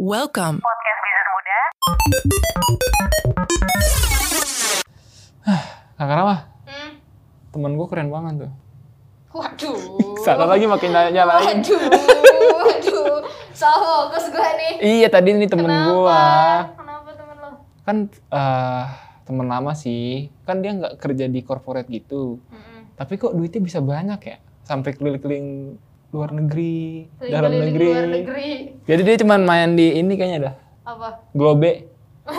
Welcome. Podcast Bisnis Muda. Kakak Rama, Hmm. temen gue keren banget tuh. Waduh. Salah lagi makin nyalain. Waduh. Waduh. Salah fokus gue nih. Iya tadi ini temen Kenapa? gue. Kenapa temen lo? Kan eh temen lama sih. Kan dia nggak kerja di corporate gitu. Mm-mm. Tapi kok duitnya bisa banyak ya? Sampai keliling-keliling luar negeri, Keliling-keliling dalam negeri. Luar negeri. Jadi dia cuman main di ini kayaknya dah. Apa? Globe.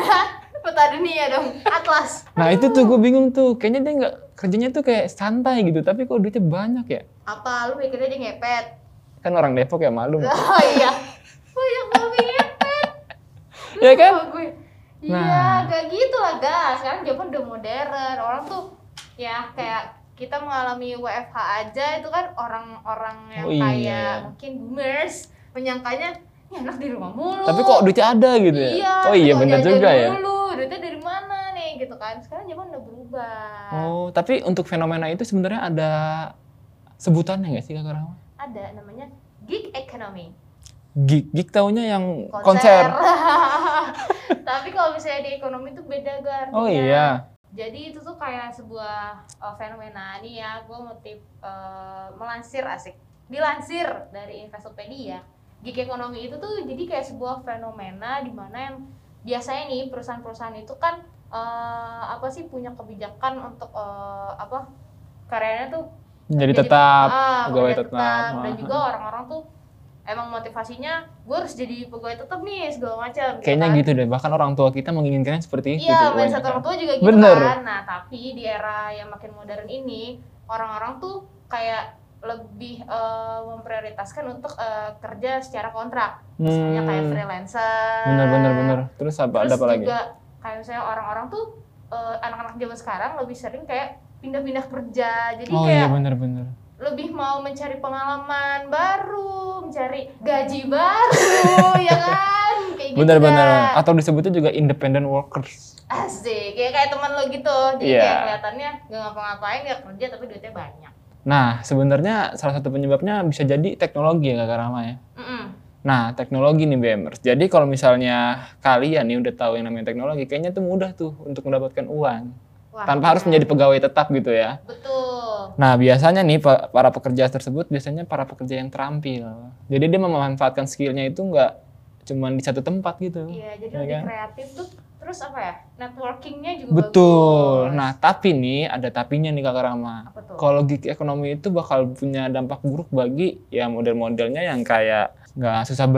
Peta dunia dong. Atlas. Nah itu tuh gue bingung tuh. Kayaknya dia nggak kerjanya tuh kayak santai gitu. Tapi kok duitnya banyak ya? Apa? Lu mikirnya dia ngepet? Kan orang Depok ya malum. Oh iya. Banyak banget ngepet. Lu Ya kan? sama Iya Gue. Iya, Nah. gak gitu lah guys. Sekarang zaman udah modern. Orang tuh ya kayak kita mengalami WFH aja itu kan orang-orang yang Oh, iya. kayak mungkin boomers menyangkanya ini anak di rumah mulu. Tapi kok duitnya ada gitu ya? Iya. oh iya kok bener diajarin juga ya. Dulu, duitnya dari mana nih gitu kan. Sekarang zaman udah berubah. Oh, tapi untuk fenomena itu sebenarnya ada sebutannya nggak sih Kakak Rama? Ada namanya gig economy. Gig, gig taunya yang konser. Tapi kalau misalnya di ekonomi itu beda gar. Oh iya. Jadi itu tuh kayak sebuah uh, fenomena nih ya, gue ngutip uh, melansir asik, dilansir dari Investopedia. Gig ekonomi itu tuh jadi kayak sebuah fenomena di mana yang biasanya nih perusahaan-perusahaan itu kan uh, apa sih punya kebijakan untuk uh, apa karyanya tuh Jadi jadi- tetap ah, pegawai pekerja tetap. dan Ah. juga orang-orang tuh emang motivasinya gue harus jadi pegawai tetap nih segala macam. gitu kayaknya kan. gitu deh. Bahkan orang tua kita menginginkan seperti itu. Iya, tuh, mindset kebanyakan. orang tua juga gitu Bener. kan. Nah, tapi di era yang makin modern ini, orang-orang tuh kayak lebih eh, memprioritaskan untuk eh, kerja secara kontrak. Misalnya kayak Hmm, freelancer. bener bener bener. Terus apa Terus ada apa lagi? juga kayak misalnya orang-orang tuh eh, anak-anak zaman sekarang lebih sering kayak pindah-pindah kerja. Jadi Oh iya kayak bener bener. lebih mau mencari pengalaman baru, mencari gaji baru, ya kan? Kayak gitu. Bener bener. Kak. Atau disebutnya juga independent workers. Asik, ya kayak teman lo gitu. Jadi Iya. kayak kelihatannya gak ngapa-ngapain, gak kerja tapi duitnya banyak. Nah sebenarnya salah satu penyebabnya bisa jadi teknologi ya Kakak Rama ya. Mm-mm. Nah, teknologi nih BMers. Jadi kalau misalnya kalian nih udah tahu yang namanya teknologi, kayaknya tuh mudah tuh untuk mendapatkan uang Wah, tanpa harus benar. menjadi pegawai tetap gitu ya. Betul. Nah, biasanya nih pa- para pekerja tersebut biasanya para pekerja yang terampil. Jadi dia memanfaatkan skillnya itu nggak cuman di satu tempat gitu. Iya, jadi Iya lebih kan? kreatif tuh. Terus apa ya? Networkingnya juga Betul. bagus. Nah, tapi nih ada tapinya nih Kak Rama. apa tuh? Kalau gig ekonomi itu bakal punya dampak buruk bagi ya model-modelnya yang kayak nggak susah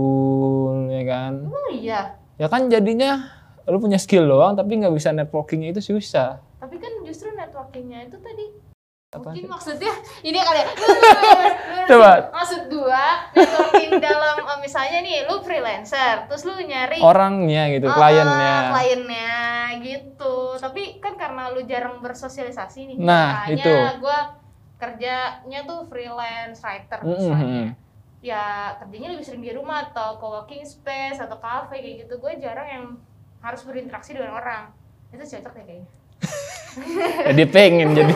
bergaul ya kan. Oh iya, ya kan jadinya lu punya skill doang tapi nggak bisa networkingnya itu susah tapi kan justru networkingnya itu tadi Apa sih? mungkin maksudnya ini kali ya Lu- lu- lu- lu- lu- Coba. maksud gua networking dalam eh, misalnya nih lu freelancer terus lu nyari orangnya gitu Ah, kliennya kliennya gitu tapi kan karena lu jarang bersosialisasi nih Nah, makanya itu. gua kerjanya tuh freelance writer Mm, mm, misalnya mm. ya kerjanya lebih sering di rumah atau co-working space atau cafe kayak gitu gue jarang yang harus berinteraksi dengan orang itu cocok deh kayaknya jadi Ya, pengen jadi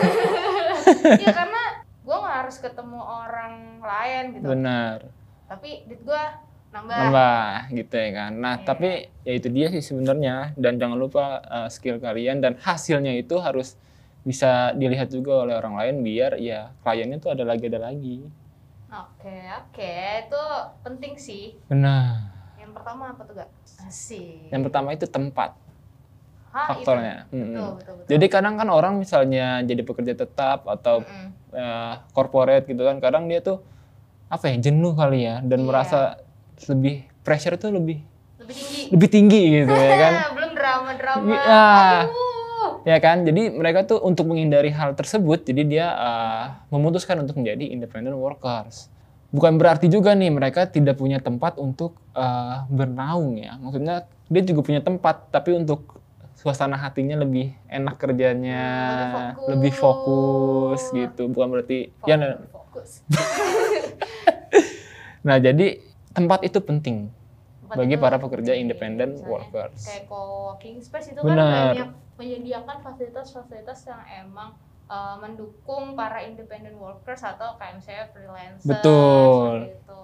iya karena gue nggak harus ketemu orang lain gitu benar tapi duit gue nambah, nambah gitu ya kan nah Iya. tapi ya itu dia sih sebenarnya dan jangan lupa uh, skill kalian dan hasilnya itu harus bisa dilihat juga oleh orang lain biar ya kliennya tuh ada lagi ada lagi oke oke itu penting sih benar yang pertama apa tuh gak asik yang pertama itu tempat Hah, Ah, itu. faktornya Mm, mm. Betul, betul, betul. jadi kadang kan orang misalnya jadi pekerja tetap atau Mm-mm. eh, corporate gitu kan kadang dia tuh apa ya jenuh kali ya dan Iya. merasa lebih pressure tuh lebih lebih tinggi. lebih tinggi gitu ya kan Belum drama-drama. Iya. Aduh. ya kan jadi mereka tuh untuk menghindari hal tersebut jadi dia eh, memutuskan untuk menjadi independent workers bukan berarti juga nih mereka tidak punya tempat untuk eh, bernaung ya maksudnya dia juga punya tempat tapi untuk suasana hatinya lebih enak kerjanya Hmm, lebih lebih fokus fokus. gitu bukan berarti Fokus. ya fokus. Nah, jadi tempat itu penting Tempat bagi itu para pekerja penting, independent misalnya workers. Kayak co-working space itu kan Benar. banyak menyediakan fasilitas-fasilitas yang emang eh, mendukung para independent workers atau kayak misalnya freelancer Betul. seperti itu.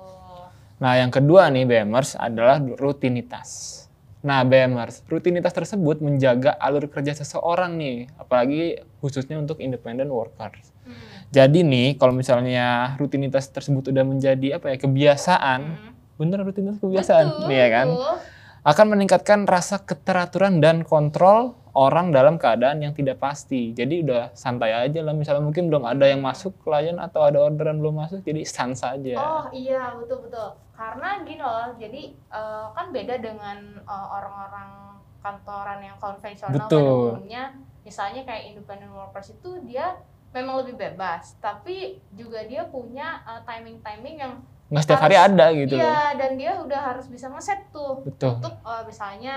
Nah, yang kedua nih BMers adalah rutinitas. Nah, BMers, rutinitas tersebut menjaga alur kerja seseorang nih, apalagi khususnya untuk independent workers. Hmm. Jadi nih, kalau misalnya rutinitas tersebut udah menjadi apa ya kebiasaan, Hmm. bener rutinitas kebiasaan, Betul, nih ya kan? betul. Akan meningkatkan rasa keteraturan dan kontrol orang dalam keadaan yang tidak pasti. Jadi udah santai aja lah. Misalnya mungkin belum ada yang masuk klien atau ada orderan belum masuk, jadi sans saja. Oh iya betul betul. Karena gini loh, jadi eh, kan beda dengan eh, orang-orang kantoran yang konvensional pada Betul. umumnya. Misalnya kayak independent workers itu dia memang lebih bebas, tapi juga dia punya eh, timing-timing yang Nggak setiap hari harus- ada gitu loh. iya dan dia udah harus bisa ngeset tuh Betul. untuk eh, misalnya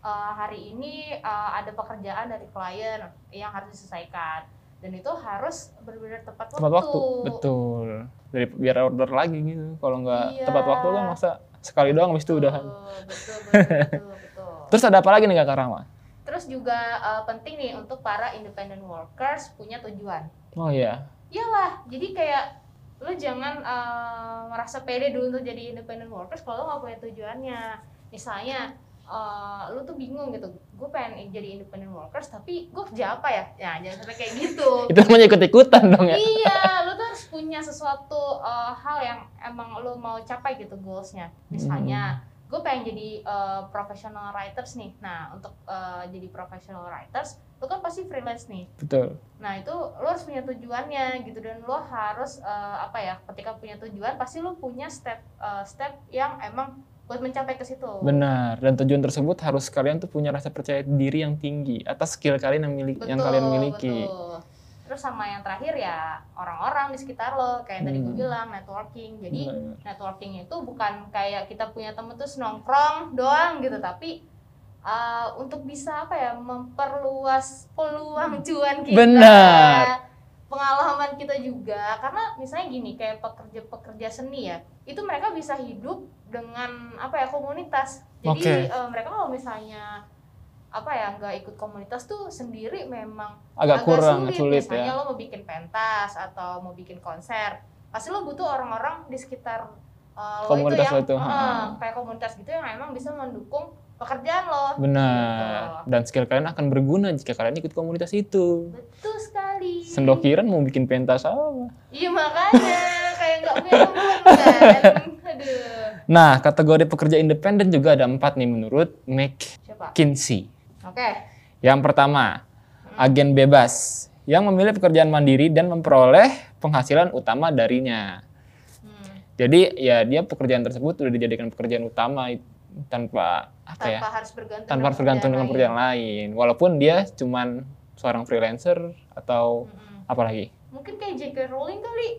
eh, hari ini eh, ada pekerjaan dari klien yang harus diselesaikan dan itu harus benar-benar tepat, tepat waktu betul dari biar order lagi gitu kalau nggak Iya. tepat waktu kan masa sekali doang habis itu Betul, udahan betul betul betul, betul. terus ada apa lagi nih kak Rama Terus juga eh, penting nih untuk para independent workers punya tujuan. oh iya Iyalah, jadi kayak lu jangan eh, merasa pede dulu untuk jadi independent workers kalau lu nggak punya tujuannya. Misalnya eh, lu tuh bingung gitu, gue pengen jadi independent workers tapi gue kerja apa ya? Ya jangan sampai kayak gitu. itu namanya ikut ikutan dong ya iya, lu tuh harus punya sesuatu eh, hal yang emang lu mau capai gitu goalsnya. Misalnya, Hmm. gue pengen jadi eh, professional writers nih. Nah, untuk eh, jadi professional writers, lu kan pasti freelance nih. betul Nah, itu lu harus punya tujuannya gitu dan lu harus eh, apa ya? Ketika punya tujuan, pasti lu punya step eh, step yang emang buat mencapai ke situ. benar dan tujuan tersebut harus kalian tuh punya rasa percaya diri yang tinggi atas skill kalian yang milik yang Betul, kalian miliki betul. Terus sama yang terakhir ya orang-orang di sekitar lo kayak tadi gue Hmm. bilang networking. Jadi Benar. networking itu bukan kayak kita punya temen terus nongkrong doang gitu tapi uh, untuk bisa apa ya memperluas peluang cuan kita Benar. pengalaman kita juga karena misalnya gini kayak pekerja-pekerja seni ya itu mereka bisa hidup dengan apa ya komunitas jadi uh, mereka kalau misalnya apa ya nggak ikut komunitas tuh sendiri memang agak kurang sulit, misalnya ya lo mau bikin pentas atau mau bikin konser pasti lo butuh orang-orang di sekitar uh, lo Komunitas itu lo yang itu, Hmm. ha. eh, kayak komunitas gitu yang emang bisa mendukung pekerjaan lo benar dan skill kalian akan berguna jika kalian ikut komunitas itu betul sekali sendokiran mau bikin pentas apa iya makanya kayak nggak punya teman kan aduh Nah, kategori pekerja independen juga ada empat nih menurut coba McKinsey. oke Yang pertama, agen bebas yang memilih pekerjaan mandiri dan memperoleh penghasilan utama darinya. Hmm, Jadi ya dia pekerjaan tersebut sudah dijadikan pekerjaan utama i- tanpa apa ya? tanpa harus bergantung Tanpa harus bergantung dengan pekerjaan lain. Walaupun dia cuman seorang freelancer atau Mm-mm. apa lagi? Hmm. mungkin kayak J.K. Rowling kali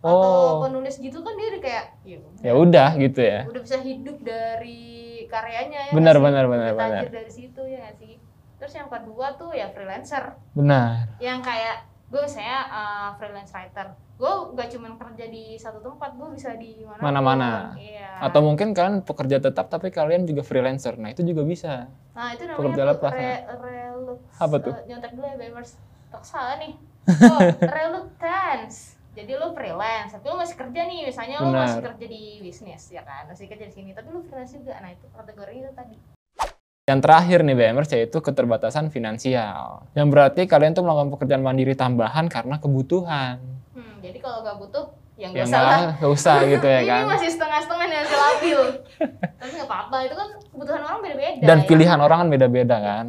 atau Oh, penulis gitu kan dia udah kayak ya udah. ya udah gitu ya. udah bisa hidup dari karyanya ya Benar, nggak sih? benar, benar, Udah benar. tajir dari situ ya nggak sih terus yang kedua tuh ya freelancer Benar. yang kayak gue misalnya uh, freelance writer gue gak cuman kerja di satu tempat gue bisa di mana Mana-mana. iya Atau mungkin kalian pekerja tetap tapi kalian juga freelancer. Nah, itu juga bisa. nah itu pekerja namanya tuh lepas, re, relux Apa tuh? eh, nyontek dulu ya bebers tak salah nih oh, reluctance jadi lu freelance tapi lu masih kerja nih misalnya lu Benar. masih kerja di bisnis ya kan masih kerja di sini tapi lu freelance juga nah itu kategori itu tadi Yang terakhir nih BMers yaitu keterbatasan finansial. Yang berarti kalian tuh melakukan pekerjaan mandiri tambahan karena kebutuhan. Hmm, jadi kalau nggak butuh, yang Yang nggak salah. Ya nggak nggak usah gitu ya kan. Ini masih setengah-setengah nih hasil labil. Tapi nggak apa-apa, itu kan kebutuhan orang beda-beda. Dan ya. pilihan orang kan beda-beda kan.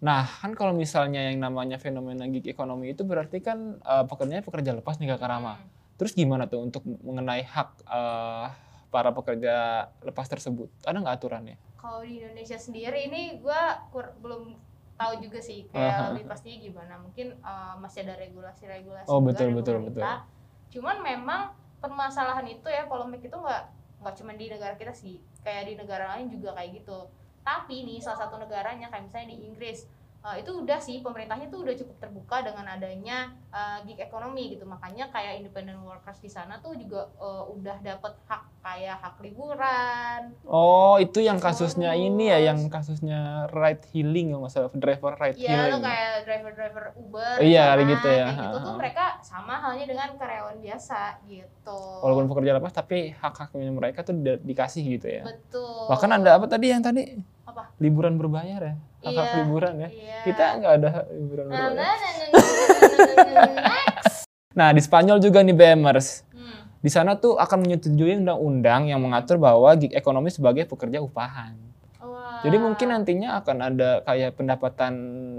Nah kan kalau misalnya yang namanya fenomena gig economy itu berarti kan eh, pekerjaannya pekerja lepas nih Kak Rama. Hmm. Terus gimana tuh untuk mengenai hak eh, para pekerja lepas tersebut? Ada nggak aturannya? Kalau di Indonesia sendiri ini gue kur- belum tahu juga sih kayak Aha. lebih pastinya gimana. Mungkin eh, masih ada regulasi-regulasi. Oh, juga betul, dari betul, pemerintah. Cuman memang permasalahan itu ya polemik itu nggak nggak cuma di negara kita sih. Kayak di negara lain juga kayak gitu. Tapi nih salah satu negaranya kayak misalnya di Inggris Eh, itu udah sih pemerintahnya tuh udah cukup terbuka dengan adanya eh, gig ekonomi gitu makanya kayak independent workers di sana tuh juga eh, udah dapat hak kayak hak liburan Oh, itu yang kasusnya Bonus. ini ya, yang kasusnya ride healing yang masalah driver ride Iya, lo healing. kayak driver-driver Uber. Iya, sama, gitu ya. kayak gitu tuh Ha-ha. mereka sama halnya dengan karyawan biasa gitu. Walaupun pekerja lepas tapi hak-haknya mereka tuh di- dikasih gitu ya. betul. Bahkan ada apa tadi yang tadi? Apa? Liburan berbayar ya. Hak-hak Iya. liburan ya. Iya. Kita nggak ada liburan Nah, nah, berbayar. nah, nah, nah, nah, nah, nah. Nah, di Spanyol juga nih BMers. Hmm, Di sana tuh akan menyetujui undang-undang yang mengatur bahwa gig ekonomi sebagai pekerja upahan. wah. Jadi mungkin nantinya akan ada kayak pendapatan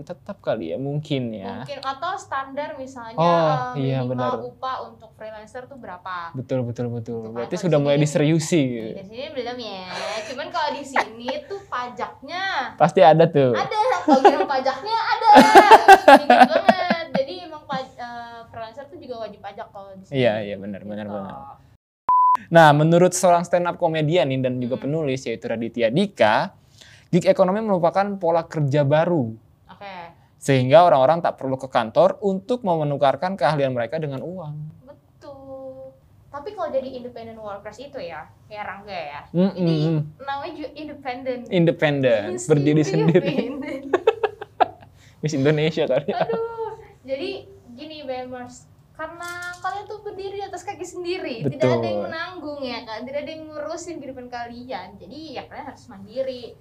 tetap kali ya, mungkin ya. mungkin atau standar misalnya Oh, eh, iya, minimal benar. upah untuk freelancer tuh berapa? Betul betul betul. Tuh, Berarti kalau di sudah mulai sini- diseriusi. gitu. Di sini belum ya. Cuman kalau di sini tuh pajaknya Pasti ada tuh. ada bagian pajaknya ada dikit banget jadi emang paj- eh, freelancer tuh juga wajib pajak kalau di sini. Iya, iya, benar, benar, Gitu. benar. Nah, menurut seorang stand up komedian nih dan juga Hmm. penulis yaitu Raditya Dika, gig ekonomi merupakan pola kerja baru oke sehingga orang-orang tak perlu ke kantor untuk memenukarkan keahlian mereka dengan uang. betul tapi kalau jadi independent workers itu ya ya Rangga ya Mm, Jadi, mm, mm. namanya juga independent Independen, Yes, Iya, berdiri sendiri. independent. Miss Indonesia kali. ya. aduh jadi gini Bemers karena kalian tuh berdiri atas kaki sendiri tidak ada Betul. yang menanggung ya kan tidak ada yang ngurusin kehidupan kalian jadi ya kalian harus mandiri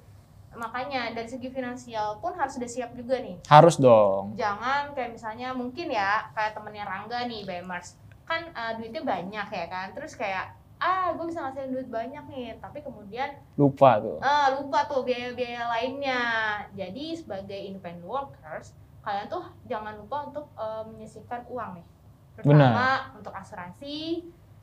makanya dari segi finansial pun harus udah siap juga nih Harus dong. jangan kayak misalnya mungkin ya kayak temennya Rangga nih Bemers kan eh, duitnya banyak ya kan terus kayak ah gue bisa ngasihin duit banyak nih tapi kemudian Lupa tuh. Ah, lupa tuh biaya-biaya lainnya. Jadi sebagai independent workers, kalian tuh jangan lupa untuk eh, menyisihkan uang nih. Terutama untuk asuransi,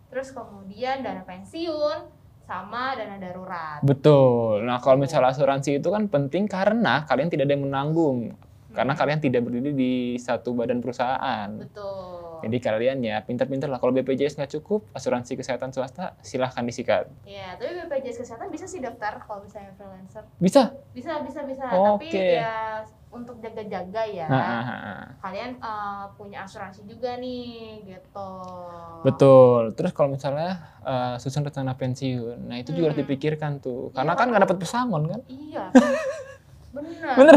terus kemudian dana pensiun sama dana darurat. Betul. Nah, kalau misalnya asuransi itu kan penting karena kalian tidak ada yang menanggung. Karena Hmm, kalian tidak berdiri di satu badan perusahaan. betul. Jadi kalian ya pintar-pintar lah. Kalau BPJS nggak cukup, asuransi kesehatan swasta silahkan disikat. Ya, tapi BPJS kesehatan bisa sih daftar kalau misalnya freelancer. Bisa. Bisa, bisa, bisa. Tapi Oke. ya untuk jaga-jaga ya. Nah, ah, ah, ah. Kalian eh, punya asuransi juga nih, gitu. Betul. Terus kalau misalnya eh, susun rencana pensiun, nah itu juga harus Hmm. dipikirkan tuh. Karena Iya. kan nggak dapat pesangon kan? Iya. Benar. Bener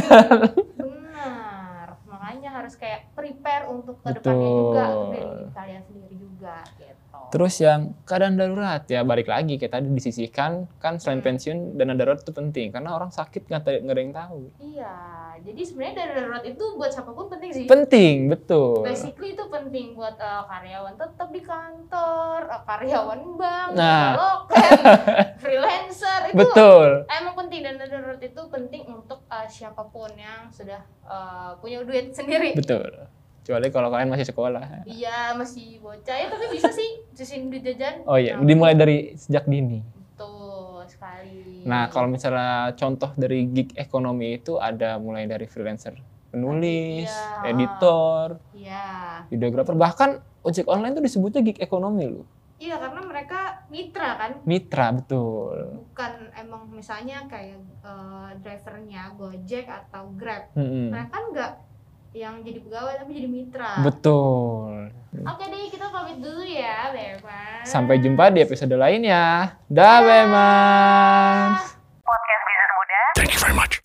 Benar. Makanya harus kayak prepare untuk ke Betul. depannya juga untuk diri kalian sendiri juga gitu. Terus yang keadaan darurat ya balik lagi kayak tadi disisihkan kan selain Hmm. pensiun dana darurat itu penting karena orang sakit nggak ada- nggak ada yang tahu. Iya. Jadi sebenarnya dana darurat itu buat siapapun penting sih. Penting betul. Basically itu penting buat eh, karyawan tetap di kantor, eh, karyawan bank, Nah. loker, freelancer itu Betul. emang penting dana darurat itu penting untuk eh, siapapun yang sudah eh, punya duit sendiri. Betul. Kecuali kalau kalian masih sekolah. Iya masih bocah ya tapi bisa sih sisin duit jajan. Oh iya, Nah, dimulai dari sejak dini. Betul sekali. Nah, kalau misalnya contoh dari gig ekonomi itu ada mulai dari freelancer, penulis, Iya. editor, Iya. videografer, bahkan ojek online tuh disebutnya gig ekonomi loh. Iya karena mereka mitra kan, Mitra betul. bukan emang misalnya kayak eh, drivernya Gojek atau Grab. Mm-mm. Mereka kan nggak yang jadi pegawai tapi jadi mitra. Betul. Oke deh kita pamit dulu ya, Bebas. Sampai jumpa di episode lainnya. Dah, Bemans. Thank you very much.